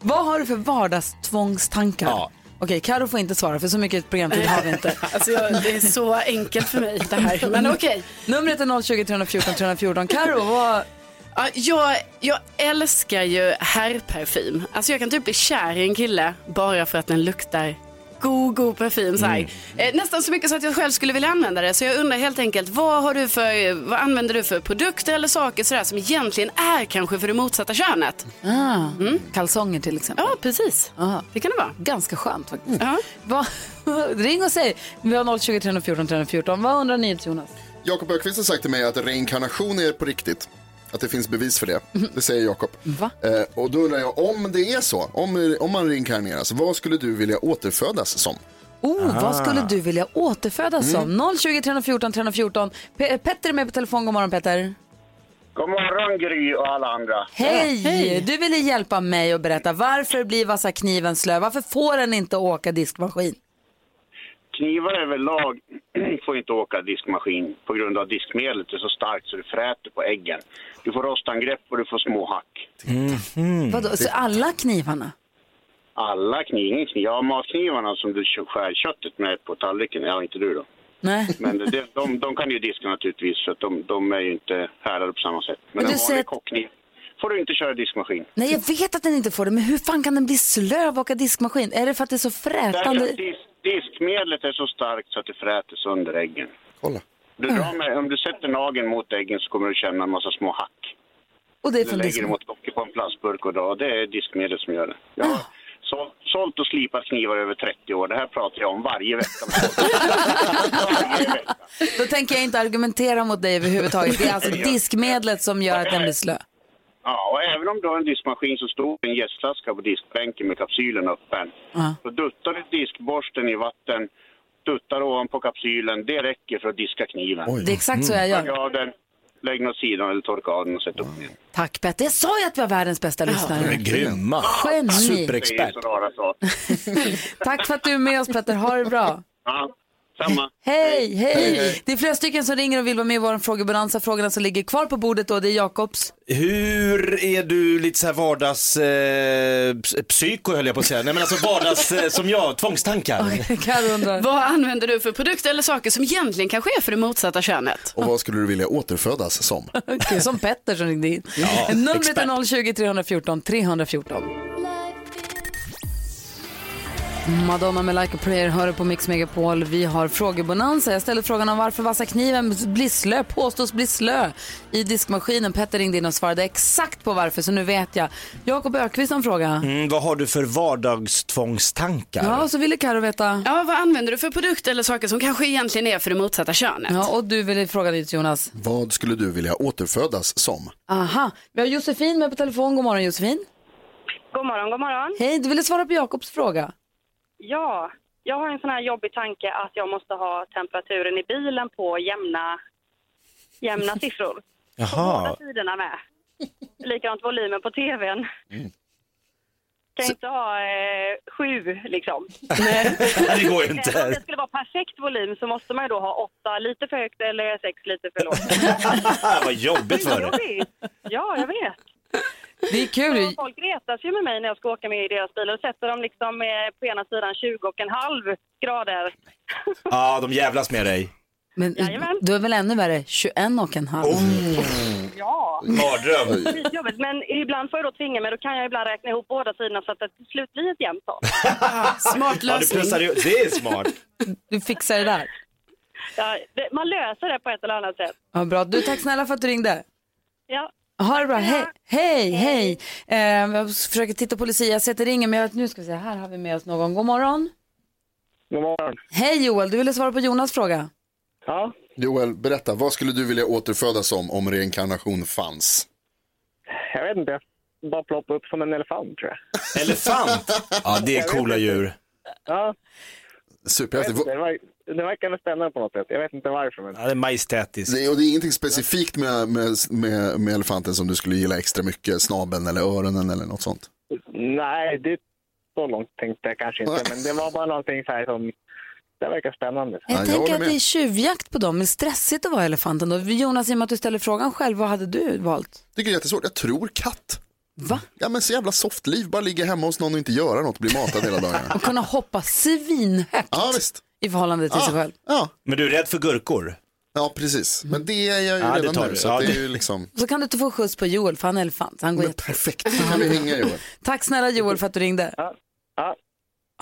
[SPEAKER 3] Vad har du för vardagstvångstankar? Okej, Karo får inte svara för så mycket programtid har vi inte.
[SPEAKER 5] Alltså, jag, det är så enkelt för mig det här, men okej.
[SPEAKER 3] Numret är 020 314 314. Karo, vad...
[SPEAKER 5] Ja, jag, jag älskar ju herrparfym. Alltså jag kan typ bli kär i en kille bara för att den luktar god, god parfym. Så här. Eh, nästan så mycket så att jag själv skulle vilja använda det. Så jag undrar helt enkelt, vad, har du för, vad använder du för produkter eller saker så där, som egentligen är kanske för det motsatta könet?
[SPEAKER 3] Ah, Kalsonger till exempel.
[SPEAKER 5] Ja, precis. Det kan det vara.
[SPEAKER 3] Ganska skönt faktiskt. Vad- Ring och säg. Vi har 020 314 314. Vad undrar ni Jonas?
[SPEAKER 6] Jakob Ökvist har sagt till mig att reinkarnation är på riktigt. Att det finns bevis för det. Det säger Jakob. Eh, och då undrar jag, om det är så, om, om man reinkarneras, vad skulle du vilja återfödas som?
[SPEAKER 3] Oh,
[SPEAKER 6] Ah.
[SPEAKER 3] vad skulle du vilja återfödas som? 020 314 314. Pe- eh, Petter är med på telefon. God morgon Petter.
[SPEAKER 11] God morgon Gry och alla andra.
[SPEAKER 3] Hej! Du ville hjälpa mig att berätta varför blir vassa kniven slö? Varför får den inte åka diskmaskin?
[SPEAKER 11] Knivar överlag får inte åka diskmaskin på grund av att diskmedlet är så starkt så det fräter på äggen. Du får rostangrepp och du får små hack. Mm.
[SPEAKER 3] Vadå, så alla knivarna?
[SPEAKER 11] Alla kniv, ingen kniv. Ja, matknivarna som du kö- skär köttet med på tallriken, ja inte du då.
[SPEAKER 3] Nej.
[SPEAKER 11] Men det, de, de kan ju diska naturligtvis för att de, de är ju inte härdade på samma sätt. Men,
[SPEAKER 3] Men du
[SPEAKER 11] en
[SPEAKER 3] säger
[SPEAKER 11] vanlig
[SPEAKER 3] att-
[SPEAKER 11] kockkniv får du inte köra i diskmaskin.
[SPEAKER 3] Nej, jag vet att den inte får det, men hur fan kan den bli slö och åka diskmaskin? Är det för att det är så
[SPEAKER 11] Därför
[SPEAKER 3] frätande?
[SPEAKER 11] att dis, diskmedlet är så starkt så att det fräter sönder äggen.
[SPEAKER 6] Kolla.
[SPEAKER 11] Du drar med, om du sätter nageln mot äggen så kommer du känna en massa små hack.
[SPEAKER 3] Och det är
[SPEAKER 11] du
[SPEAKER 3] från
[SPEAKER 11] lägger
[SPEAKER 3] disken.
[SPEAKER 11] dem åt locket på en plastburk och drar. Det är diskmedel som gör det. Jag har sålt, sålt och slipat knivar i över 30 år. Det här pratar jag om varje vecka.
[SPEAKER 3] Då tänker jag inte argumentera mot dig överhuvudtaget. Det är alltså diskmedlet som gör att den blir slö.
[SPEAKER 11] Ja, och även om du har en diskmaskin så står en gästflaska på diskbänken med kapsylen öppen. Så duttar du diskborsten i vatten, duttar ovanpå kapsylen. Det räcker för att diska kniven.
[SPEAKER 3] Det är exakt så jag gör.
[SPEAKER 11] Torka av den, lägg den åt sidan eller torka av den och sätt upp den.
[SPEAKER 3] Tack Petter, jag sa ju att vi har världens bästa lyssnare.
[SPEAKER 4] Grymma.
[SPEAKER 3] Geni.
[SPEAKER 4] Superexpert.
[SPEAKER 11] Det är så rara saker.
[SPEAKER 3] Tack för att du är med oss Petter, ha det bra.
[SPEAKER 11] Ja, samma.
[SPEAKER 3] Hej,
[SPEAKER 4] Hej,
[SPEAKER 3] hej!
[SPEAKER 4] hej.
[SPEAKER 3] Det är flera stycken som ringer och vill vara med i vår frågebonanza. Frågorna som ligger kvar på bordet då, det är Jakobs.
[SPEAKER 4] Hur är du lite så här vardags, eh, ps- psyko höll jag på att säga, nej men alltså vardags eh, som jag, tvångstankar.
[SPEAKER 5] Vad använder du för produkter eller saker som egentligen kanske är för det motsatta könet?
[SPEAKER 6] Och vad skulle du vilja återfödas som?
[SPEAKER 3] Okej, Som Petter som ringde in.
[SPEAKER 6] Ja,
[SPEAKER 3] Numret
[SPEAKER 6] expert.
[SPEAKER 3] är 020 314 314. Madonna med Like a Prayer hör på Mix Megapol. Vi har frågebonanza. Jag ställer frågan om varför vassa kniven blir slö, påstås bli slö i diskmaskinen. Petter ringde in och svarade exakt på varför, så nu vet jag. Jakob Ökvist har en fråga.
[SPEAKER 4] Mm, vad har du för vardagstvångstankar?
[SPEAKER 3] Ja, så ville Karo veta.
[SPEAKER 5] Ja, vad använder du för produkter eller saker som kanske egentligen är för det motsatta könet?
[SPEAKER 3] Ja, och du ville fråga dit Jonas.
[SPEAKER 6] Vad skulle du vilja återfödas som?
[SPEAKER 3] Aha, vi har Josefin med på telefon. God morgon Josefin.
[SPEAKER 9] God morgon, god morgon.
[SPEAKER 3] Hej, du ville svara på Jakobs fråga.
[SPEAKER 9] Ja, jag har en sån här jobbig tanke att jag måste ha temperaturen i bilen på jämna, jämna siffror.
[SPEAKER 4] Jaha.
[SPEAKER 9] Tiderna med. Likadant volymen på tvn. Kan inte ha eh, sju liksom.
[SPEAKER 4] Nej, det går ju
[SPEAKER 9] Även om
[SPEAKER 4] inte.
[SPEAKER 9] det skulle vara perfekt volym så måste man ju då ha åtta lite för högt eller sex lite för lågt.
[SPEAKER 4] Ah, vad jobbigt var det.
[SPEAKER 9] Jobbigt. Ja, jag vet.
[SPEAKER 3] Det är kul.
[SPEAKER 9] Så folk retas ju med mig när jag ska åka med i deras bil och sätter dem liksom eh, på ena sidan 20 och en halv grader.
[SPEAKER 4] Ja, de jävlas med dig.
[SPEAKER 3] Men du är väl ännu värre, 21 och en halv.
[SPEAKER 4] Oh.
[SPEAKER 9] Ja.
[SPEAKER 4] Mardröm.
[SPEAKER 9] Skitjobbigt, men ibland får jag då tvinga mig. Då kan jag ibland räkna ihop båda sidorna så att det till slut blir ett jämnt tal.
[SPEAKER 5] Smart
[SPEAKER 4] Ja, du pressar ju- det är smart.
[SPEAKER 3] Du fixar det där.
[SPEAKER 9] Ja, det- man löser det på ett eller annat sätt.
[SPEAKER 3] Ja, bra. Du, tack snälla för att du ringde.
[SPEAKER 9] Ja.
[SPEAKER 3] Ha det bra. Hej, hej. hej. Eh, jag försöker titta på Lucia, jag ser att det ringer, men jag, nu ska vi se, här har vi med oss någon. God morgon.
[SPEAKER 12] God morgon.
[SPEAKER 3] Hej Joel, du ville svara på Jonas fråga.
[SPEAKER 12] Ja.
[SPEAKER 6] Joel, berätta, vad skulle du vilja återfödas som om reinkarnation fanns?
[SPEAKER 12] Jag vet inte. Jag Bara ploppa upp som en elefant tror jag.
[SPEAKER 4] Elefant? Ja, det är coola djur.
[SPEAKER 12] Ja. Jag
[SPEAKER 6] Superhäftigt.
[SPEAKER 12] vet inte, Det, var, det verkar spännande på något sätt. Jag vet inte varför. Men...
[SPEAKER 4] Ja, det är majestätiskt.
[SPEAKER 6] Det, är- och det är ingenting specifikt med, med, med, med elefanten som du skulle gilla extra mycket, snabeln eller öronen eller något sånt.
[SPEAKER 12] Nej, det så långt tänkte jag kanske inte. Men det var bara någonting så här som... Det verkar spännande.
[SPEAKER 3] Jag tänker att det är tjuvjakt på dem, men stressigt att vara elefanten då. Jonas, i och med att du ställer frågan själv, vad hade du valt?
[SPEAKER 6] Tycker det är jättesvårt, jag tror katt.
[SPEAKER 3] Va?
[SPEAKER 6] Ja men så jävla soft liv, bara ligga hemma hos någon och inte göra något, bli matad hela dagarna.
[SPEAKER 3] Att kunna hoppa svinhögt i förhållande till sig
[SPEAKER 4] Ah.
[SPEAKER 3] själv. Mm.
[SPEAKER 6] Ja.
[SPEAKER 4] Men du är rädd för gurkor?
[SPEAKER 6] Ja, precis. Men det är jag ju
[SPEAKER 4] Ja, det
[SPEAKER 6] redan
[SPEAKER 4] tar
[SPEAKER 6] nu,
[SPEAKER 4] du.
[SPEAKER 6] så
[SPEAKER 4] Ja,
[SPEAKER 6] att det är
[SPEAKER 4] det-
[SPEAKER 6] ju liksom...
[SPEAKER 3] Så kan du inte få skjuts på Joel, för han är elefant. Han går
[SPEAKER 6] Men
[SPEAKER 3] jätte-
[SPEAKER 6] perfekt, då kan vi hänga Joel.
[SPEAKER 3] Tack snälla Joel för att du ringde.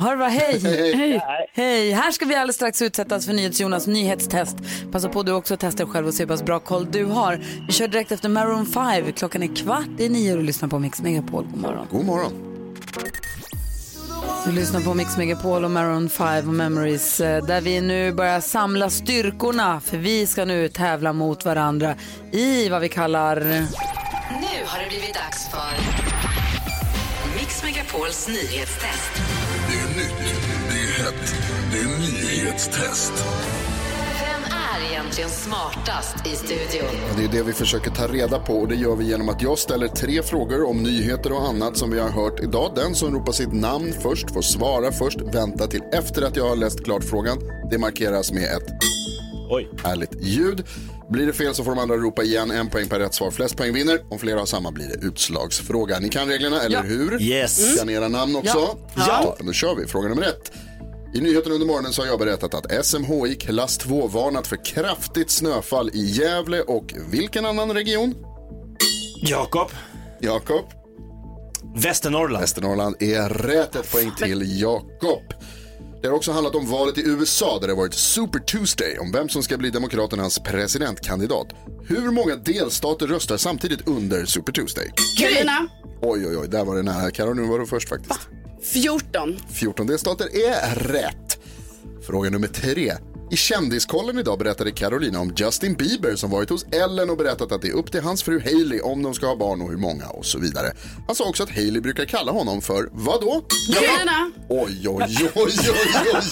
[SPEAKER 3] Ha det bra, hej.
[SPEAKER 6] Hej.
[SPEAKER 3] hej! Hej! Här ska vi alldeles strax utsättas för NyhetsJonas nyhetstest. Passa på du också att testa själv och se hur pass bra koll du har. Vi kör direkt efter Maroon 5. Klockan är kvart i nio och du lyssnar på Mix Megapol. God morgon.
[SPEAKER 6] God morgon.
[SPEAKER 3] Du lyssnar på Mix Megapol och Maroon 5 och Memories eh, där vi nu börjar samla styrkorna för vi ska nu tävla mot varandra i vad vi kallar...
[SPEAKER 7] Nu har det blivit dags för Mix Megapols nyhetstest.
[SPEAKER 13] Det är nytt, det är hett, det är nyhetstest.
[SPEAKER 7] Vem är egentligen smartast i studion?
[SPEAKER 6] Det är det vi försöker ta reda på och det gör vi genom att jag ställer tre frågor om nyheter och annat som vi har hört idag. Den som ropar sitt namn först får svara först, vänta till efter att jag har läst klart frågan. Det markeras med ett
[SPEAKER 4] Oj.
[SPEAKER 6] härligt ljud. Blir det fel så får de andra ropa igen. En poäng per rätt svar. Flest poäng vinner. Om flera har samma blir det utslagsfråga. Ni kan reglerna, eller
[SPEAKER 4] Ja.
[SPEAKER 6] hur?
[SPEAKER 4] Yes. Mm.
[SPEAKER 6] Kan era namn också?
[SPEAKER 4] Ja. Ja.
[SPEAKER 6] Toppen, då kör vi. Fråga nummer ett. I nyheten under morgonen så har jag berättat att SMHI klass 2 varnat för kraftigt snöfall i Gävle och vilken annan region?
[SPEAKER 4] Jakob.
[SPEAKER 6] Jakob.
[SPEAKER 4] Västernorrland.
[SPEAKER 6] Västernorrland är rätt. Ett poäng till Jakob. Det har också handlat om valet i USA där det har varit Super Tuesday om vem som ska bli Demokraternas presidentkandidat. Hur många delstater röstar samtidigt under Super Tuesday?
[SPEAKER 5] Carolina,
[SPEAKER 6] Oj, oj, oj, där var det nära. Karolina var du först faktiskt.
[SPEAKER 5] 14.
[SPEAKER 6] 14 delstater är rätt. Fråga nummer tre. I Kändiskollen idag berättade Carolina om Justin Bieber som varit hos Ellen och berättat att det är upp till hans fru Hailey om de ska ha barn och hur många och så vidare. Han sa också att Hailey brukar kalla honom för vadå?
[SPEAKER 5] Carolina,
[SPEAKER 6] Oj, oj, oj, oj, oj.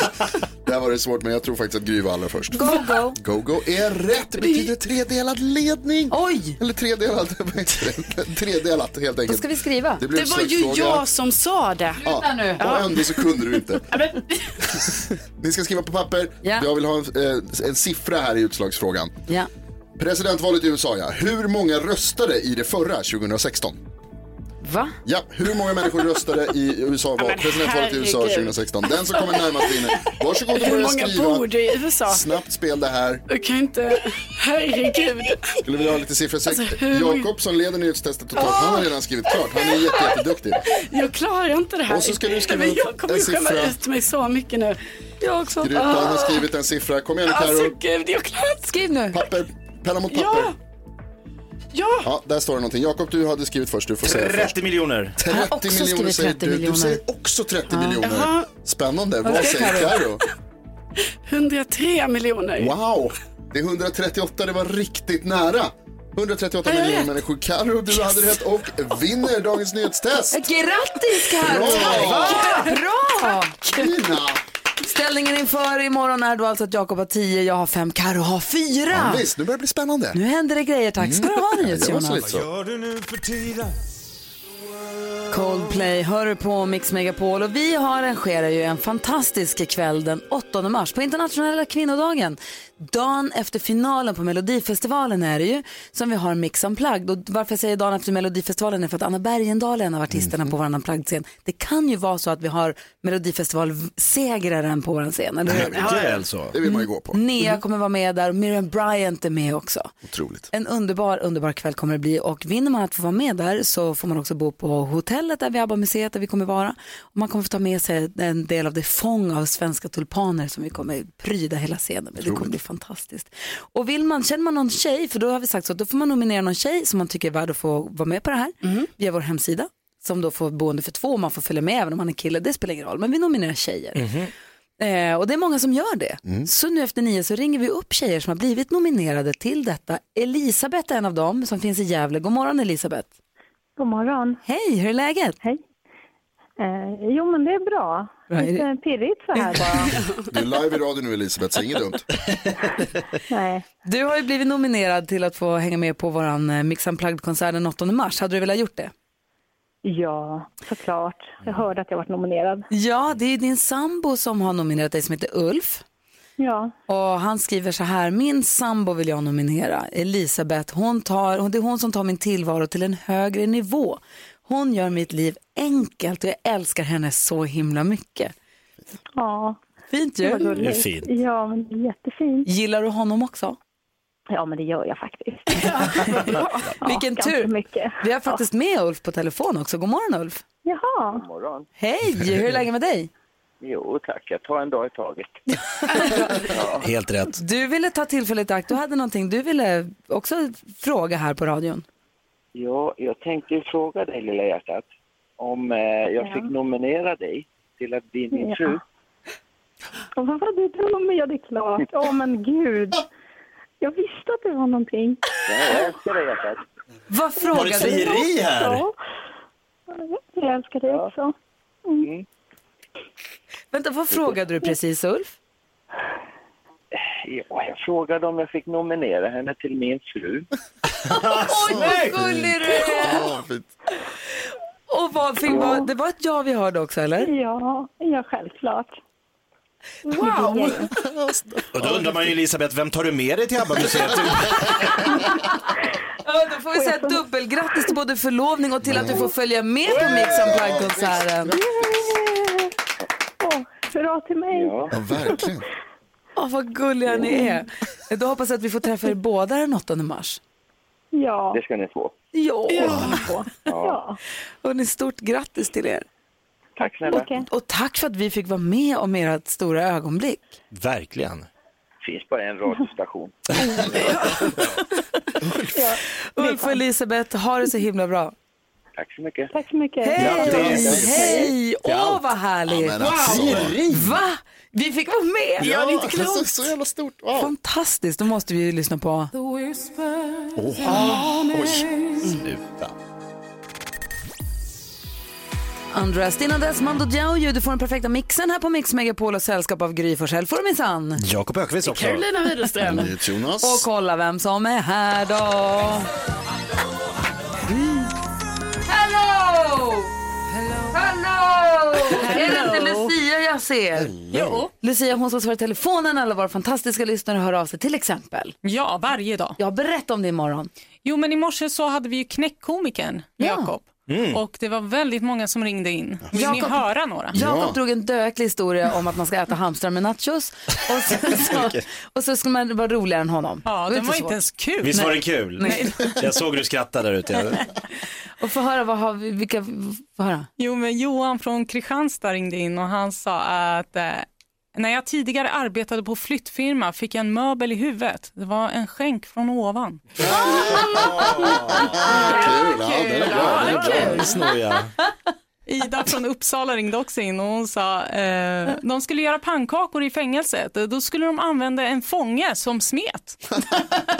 [SPEAKER 6] Där var det svårt, men jag tror faktiskt att Gry var allra först.
[SPEAKER 3] Go, go.
[SPEAKER 6] Go-Go är rätt. Det betyder tredelad ledning. Oj! Eller tredelad. vad heter det? tredelat, helt enkelt.
[SPEAKER 1] Vad ska vi skriva?
[SPEAKER 6] Det, blev
[SPEAKER 5] det var ju
[SPEAKER 6] slutfråga.
[SPEAKER 5] jag som sa det.
[SPEAKER 6] Ja, och ändå så kunde du inte. Ni ska skriva på papper.
[SPEAKER 5] Ja.
[SPEAKER 6] Jag vill ha en, eh, en siffra här i utslagsfrågan.
[SPEAKER 3] Ja.
[SPEAKER 6] Presidentvalet i USA, ja. Hur många röstade i det förra 2016?
[SPEAKER 3] Va?
[SPEAKER 6] Ja, hur många människor röstade i USA
[SPEAKER 5] Ja,
[SPEAKER 6] var
[SPEAKER 5] men
[SPEAKER 6] presidentvalet i USA
[SPEAKER 5] herregud.
[SPEAKER 6] 2016? Den som kommer närmast vinner. Varsågod och
[SPEAKER 5] Hur
[SPEAKER 6] börja
[SPEAKER 5] många
[SPEAKER 6] skriva.
[SPEAKER 5] bor det i USA?
[SPEAKER 6] Snabbt spel det här.
[SPEAKER 5] Du kan inte... Herregud.
[SPEAKER 6] Skulle vilja ha lite siffror. Alltså,
[SPEAKER 5] hur många-
[SPEAKER 6] Jakob som leder nyhetstestet totalt, han har redan skrivit klart. Han är jätte, jätteduktig.
[SPEAKER 5] Jag klarar inte det här.
[SPEAKER 6] Och så ska du skriva
[SPEAKER 5] Men
[SPEAKER 6] en
[SPEAKER 5] Jag kommer ju skämma
[SPEAKER 6] siffra.
[SPEAKER 5] ut mig så mycket nu. Jag också.
[SPEAKER 6] Grytan har skrivit en siffra. Kom igen nu Carro.
[SPEAKER 5] Alltså gud, jag klarar inte.
[SPEAKER 1] Skriv nu.
[SPEAKER 6] Papper, penna mot papper.
[SPEAKER 5] Ja. Ja.
[SPEAKER 6] Ja, där står det någonting. Jakob, du hade skrivit först. Du får säga
[SPEAKER 4] 30 miljoner.
[SPEAKER 6] 30
[SPEAKER 4] Jag har också
[SPEAKER 6] miljoner
[SPEAKER 4] skrivit
[SPEAKER 6] säger
[SPEAKER 4] 30
[SPEAKER 6] du.
[SPEAKER 4] miljoner.
[SPEAKER 6] Du säger också 30
[SPEAKER 4] Ja.
[SPEAKER 6] miljoner.
[SPEAKER 5] Jaha.
[SPEAKER 6] Spännande.
[SPEAKER 5] Vad
[SPEAKER 6] Vad
[SPEAKER 5] ska
[SPEAKER 6] säger
[SPEAKER 5] Karo?
[SPEAKER 6] Karo?
[SPEAKER 5] 103 miljoner.
[SPEAKER 6] Wow! Det är 138, det var riktigt nära. 138 miljoner människor. Karo, du hade rätt och vinner dagens nyhetstest.
[SPEAKER 3] Grattis Carro!
[SPEAKER 6] Bra!
[SPEAKER 3] Bra!
[SPEAKER 6] Nina.
[SPEAKER 3] Ställningen inför imorgon är då alltså att Jakob har 10, jag har 5, Carro har 4.
[SPEAKER 6] Ja, visst, nu börjar det bli spännande.
[SPEAKER 3] Nu händer det grejer, tack ska du ha
[SPEAKER 6] Mm.
[SPEAKER 3] nyhets,
[SPEAKER 6] Det var så lite
[SPEAKER 3] Jonas.
[SPEAKER 6] så.
[SPEAKER 13] du nu för tiden?
[SPEAKER 3] Coldplay hör du på Mix Megapol och vi har arrangerar ju en fantastisk kväll den 8 mars på internationella kvinnodagen. Dagen efter finalen på Melodifestivalen är det ju som vi har Mix Unplugged och varför jag säger dagen efter Melodifestivalen är för att Anna Bergendahl är en av artisterna på vår Unplugged-scen. Det kan ju vara så att vi har Melodifestival-segraren på vår scen, eller hur?
[SPEAKER 4] alltså.
[SPEAKER 6] Det vill man ju gå på. Mm.
[SPEAKER 3] Nea kommer vara med där och Miriam Bryant är med också.
[SPEAKER 6] Otroligt.
[SPEAKER 3] En underbar, underbar kväll kommer det bli och vinner man att få vara med där så får man också bo på hotellet där vi ABBA museet där vi kommer vara. Och man kommer få ta med sig en del av det fång av svenska tulpaner som vi kommer pryda hela scenen med. Det kommer bli fantastiskt. Och vill man, känner man någon tjej, för då har vi sagt så, då får man nominera någon tjej som man tycker är värd att få vara med på det här
[SPEAKER 6] Mm.
[SPEAKER 3] via vår hemsida. Som då får boende för två och man får följa med även om man är kille, det spelar ingen roll. Men vi nominerar tjejer.
[SPEAKER 6] Mhm.
[SPEAKER 3] Eh, och det är många som gör det. Så nu efter nio så ringer vi upp tjejer som har blivit nominerade till detta. Elisabeth är en av dem som finns i Gävle. God morgon Elisabeth.
[SPEAKER 14] God morgon.
[SPEAKER 3] Hej, hur är läget?
[SPEAKER 14] Hej. Eh, jo, men det är bra.
[SPEAKER 6] Bra, är
[SPEAKER 14] Lite
[SPEAKER 6] det-
[SPEAKER 14] pirrigt så här bara.
[SPEAKER 6] Du är live i radio nu Elisabeth, säg inget dumt.
[SPEAKER 14] Nej.
[SPEAKER 3] Du har ju blivit nominerad till att få hänga med på våran eh, Mix Unplugged-konsert den 8 mars. Hade du velat gjort det?
[SPEAKER 14] Ja, såklart. Jag hörde att jag varit nominerad.
[SPEAKER 3] Ja, det är ju din sambo som har nominerat dig som heter Ulf.
[SPEAKER 14] Ja.
[SPEAKER 3] Och han skriver så här, min sambo vill jag nominera, Elisabeth, hon tar, hon- det är hon som tar min tillvaro till en högre nivå. Hon gör mitt liv enkelt och jag älskar henne så himla mycket.
[SPEAKER 14] Ja.
[SPEAKER 3] Fint ju.
[SPEAKER 14] Vad gulligt.
[SPEAKER 3] Det är fint.
[SPEAKER 14] Ja, men det är jättefint.
[SPEAKER 3] Gillar du honom också?
[SPEAKER 14] Ja, men det gör jag faktiskt.
[SPEAKER 3] Vilken
[SPEAKER 14] ganska
[SPEAKER 3] tur.
[SPEAKER 14] mycket.
[SPEAKER 3] Vi har faktiskt med Ulf på telefon också. God morgon Ulf.
[SPEAKER 14] Jaha.
[SPEAKER 15] God morgon.
[SPEAKER 3] Hej, hur är läget med dig?
[SPEAKER 15] Jo tack, jag tar en dag i taget.
[SPEAKER 4] Helt rätt.
[SPEAKER 3] Du ville ta tillfället i akt, du hade någonting du ville också fråga här på radion.
[SPEAKER 15] Ja, jag tänkte ju fråga dig lilla hjärtat om eh, jag
[SPEAKER 14] Ja.
[SPEAKER 15] fick nominera dig till att bli min
[SPEAKER 14] Ja.
[SPEAKER 15] fru.
[SPEAKER 14] Och vad var det då med? Ja, det är klart. Åh, men gud. Jag visste att det var någonting.
[SPEAKER 15] Ja, jag älskar dig hjärtat.
[SPEAKER 3] Vad
[SPEAKER 15] Var det frieri här?
[SPEAKER 14] Ja. Jag älskar dig också. Mm.
[SPEAKER 3] Vänta, vad frågade du precis Ulf?
[SPEAKER 15] Ja, jag frågade om jag fick nominera henne till min fru.
[SPEAKER 3] Oj, vad gullig du är! Och vad, fick, vad, det var ett ja vi hörde också eller?
[SPEAKER 14] Ja, ja självklart.
[SPEAKER 3] Wow!
[SPEAKER 4] Och då undrar man ju Elisabeth, vem tar du med dig till ABBA-museet?
[SPEAKER 3] Ja, då får vi säga dubbelgrattis till både förlovning och till att du får följa med på Mix Unplugged-konserten.
[SPEAKER 14] Hurra till mig!
[SPEAKER 6] Ja, verkligen.
[SPEAKER 3] Åh, vad gulliga ni är. Då hoppas jag att vi får träffa er båda den 8 mars.
[SPEAKER 14] Ja.
[SPEAKER 15] Det ska ni få.
[SPEAKER 3] Ja.
[SPEAKER 15] Ja.
[SPEAKER 3] Hörrni, stort grattis till er.
[SPEAKER 15] Tack snälla.
[SPEAKER 3] Och, och tack för att vi fick vara med om ert stora ögonblick.
[SPEAKER 4] Verkligen.
[SPEAKER 15] Finns bara en radiostation.
[SPEAKER 3] Ulf och Elisabeth, ha det så himla bra.
[SPEAKER 15] Tack så mycket.
[SPEAKER 14] Tack så mycket.
[SPEAKER 3] Hej!
[SPEAKER 15] Grattis.
[SPEAKER 3] Hej!
[SPEAKER 15] Till
[SPEAKER 3] Åh,
[SPEAKER 15] allt.
[SPEAKER 3] vad härligt!
[SPEAKER 15] Ja, men alltså. Pirri.
[SPEAKER 3] Va? Vi fick vara med!
[SPEAKER 15] Ja, det är inte klokt.
[SPEAKER 6] Så, så jävla stort. Wow.
[SPEAKER 3] Fantastiskt, då måste vi ju lyssna på...
[SPEAKER 4] Åh,
[SPEAKER 3] Ah,
[SPEAKER 4] oj,
[SPEAKER 3] nice.
[SPEAKER 4] sluta.
[SPEAKER 3] Andras, innan dess Mando Diao ju, du får den perfekta mixen här på Mix Megapol och sällskap av Gry Forssell får du minsann.
[SPEAKER 4] Jakob Ökvist också.
[SPEAKER 3] Carolina Widerström.
[SPEAKER 6] Jonas.
[SPEAKER 3] Och kolla vem som är här då. Hello! Hello! Är det inte Lucia jag ser?
[SPEAKER 16] Jo.
[SPEAKER 3] Lucia hon som svarar i telefonen, alla våra fantastiska lyssnare hör av sig till exempel.
[SPEAKER 16] Ja, varje dag.
[SPEAKER 3] Ja, berätta om det imorgon.
[SPEAKER 16] Jo, men i morse så hade vi ju knäckkomikern Jakob.
[SPEAKER 3] Mm.
[SPEAKER 16] Och det var väldigt många som ringde in. Vill ni
[SPEAKER 3] Jakob-
[SPEAKER 16] höra några?
[SPEAKER 3] Jakob drog en döklig historia om att man ska äta hamstrar med nachos och sen så, och så ska man vara roligare än honom.
[SPEAKER 16] Ja, den var inte ens kul.
[SPEAKER 4] Visst var den kul?
[SPEAKER 16] Nej.
[SPEAKER 4] Jag såg du skratta där ute.
[SPEAKER 3] Och få höra, vad har vi, vilka, få höra.
[SPEAKER 16] Jo, men Johan från Kristianstad ringde in och han sa att eh, när jag tidigare arbetade på flyttfirma fick jag en möbel i huvudet. Det var en skänk från ovan.
[SPEAKER 6] Kul, ja, det är bra. Det är bra.
[SPEAKER 4] Snoja.
[SPEAKER 16] Ida från Uppsala ringde också in och hon sa eh, de skulle göra pannkakor i fängelset. Då skulle de använda en fånge som smet.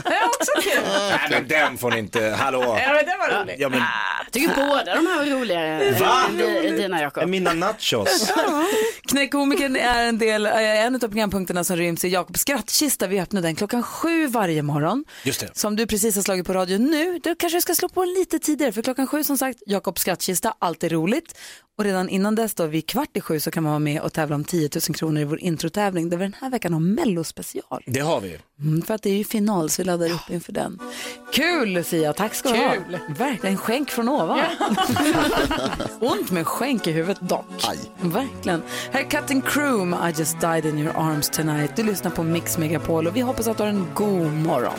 [SPEAKER 4] Nej men den får ni inte, hallå.
[SPEAKER 16] Ja, men den var rolig.
[SPEAKER 4] Ja, men...
[SPEAKER 5] Jag tycker båda de här är roligare
[SPEAKER 4] Va?
[SPEAKER 5] än di- dina Jakob.
[SPEAKER 4] Äh, Mina nachos.
[SPEAKER 3] Knäckkomikern är en, del, är en av programpunkterna som ryms i Jakobs skrattkista. Vi öppnar den klockan sju varje morgon.
[SPEAKER 4] Just det.
[SPEAKER 3] Som du precis har slagit på radio nu, då kanske du ska slå på lite tidigare. För klockan sju som sagt, Jakobs skrattkista, allt är roligt. Och redan innan dess då, vid kvart i sju så kan man vara med och tävla om 10 000 kronor i vår introtävling. Där vi den här veckan har mellospecial.
[SPEAKER 4] Det har vi.
[SPEAKER 3] Mm, för att det är ju final så vi laddar upp inför den. Kul Lucia, tack ska du ha.
[SPEAKER 16] Kul.
[SPEAKER 3] Verkligen skänk från ovan. Ont med skänk i huvudet dock. Verkligen. Här är Cutting Croom, I just died in your arms tonight. Du lyssnar på Mix Megapol och vi hoppas att du har en god morgon.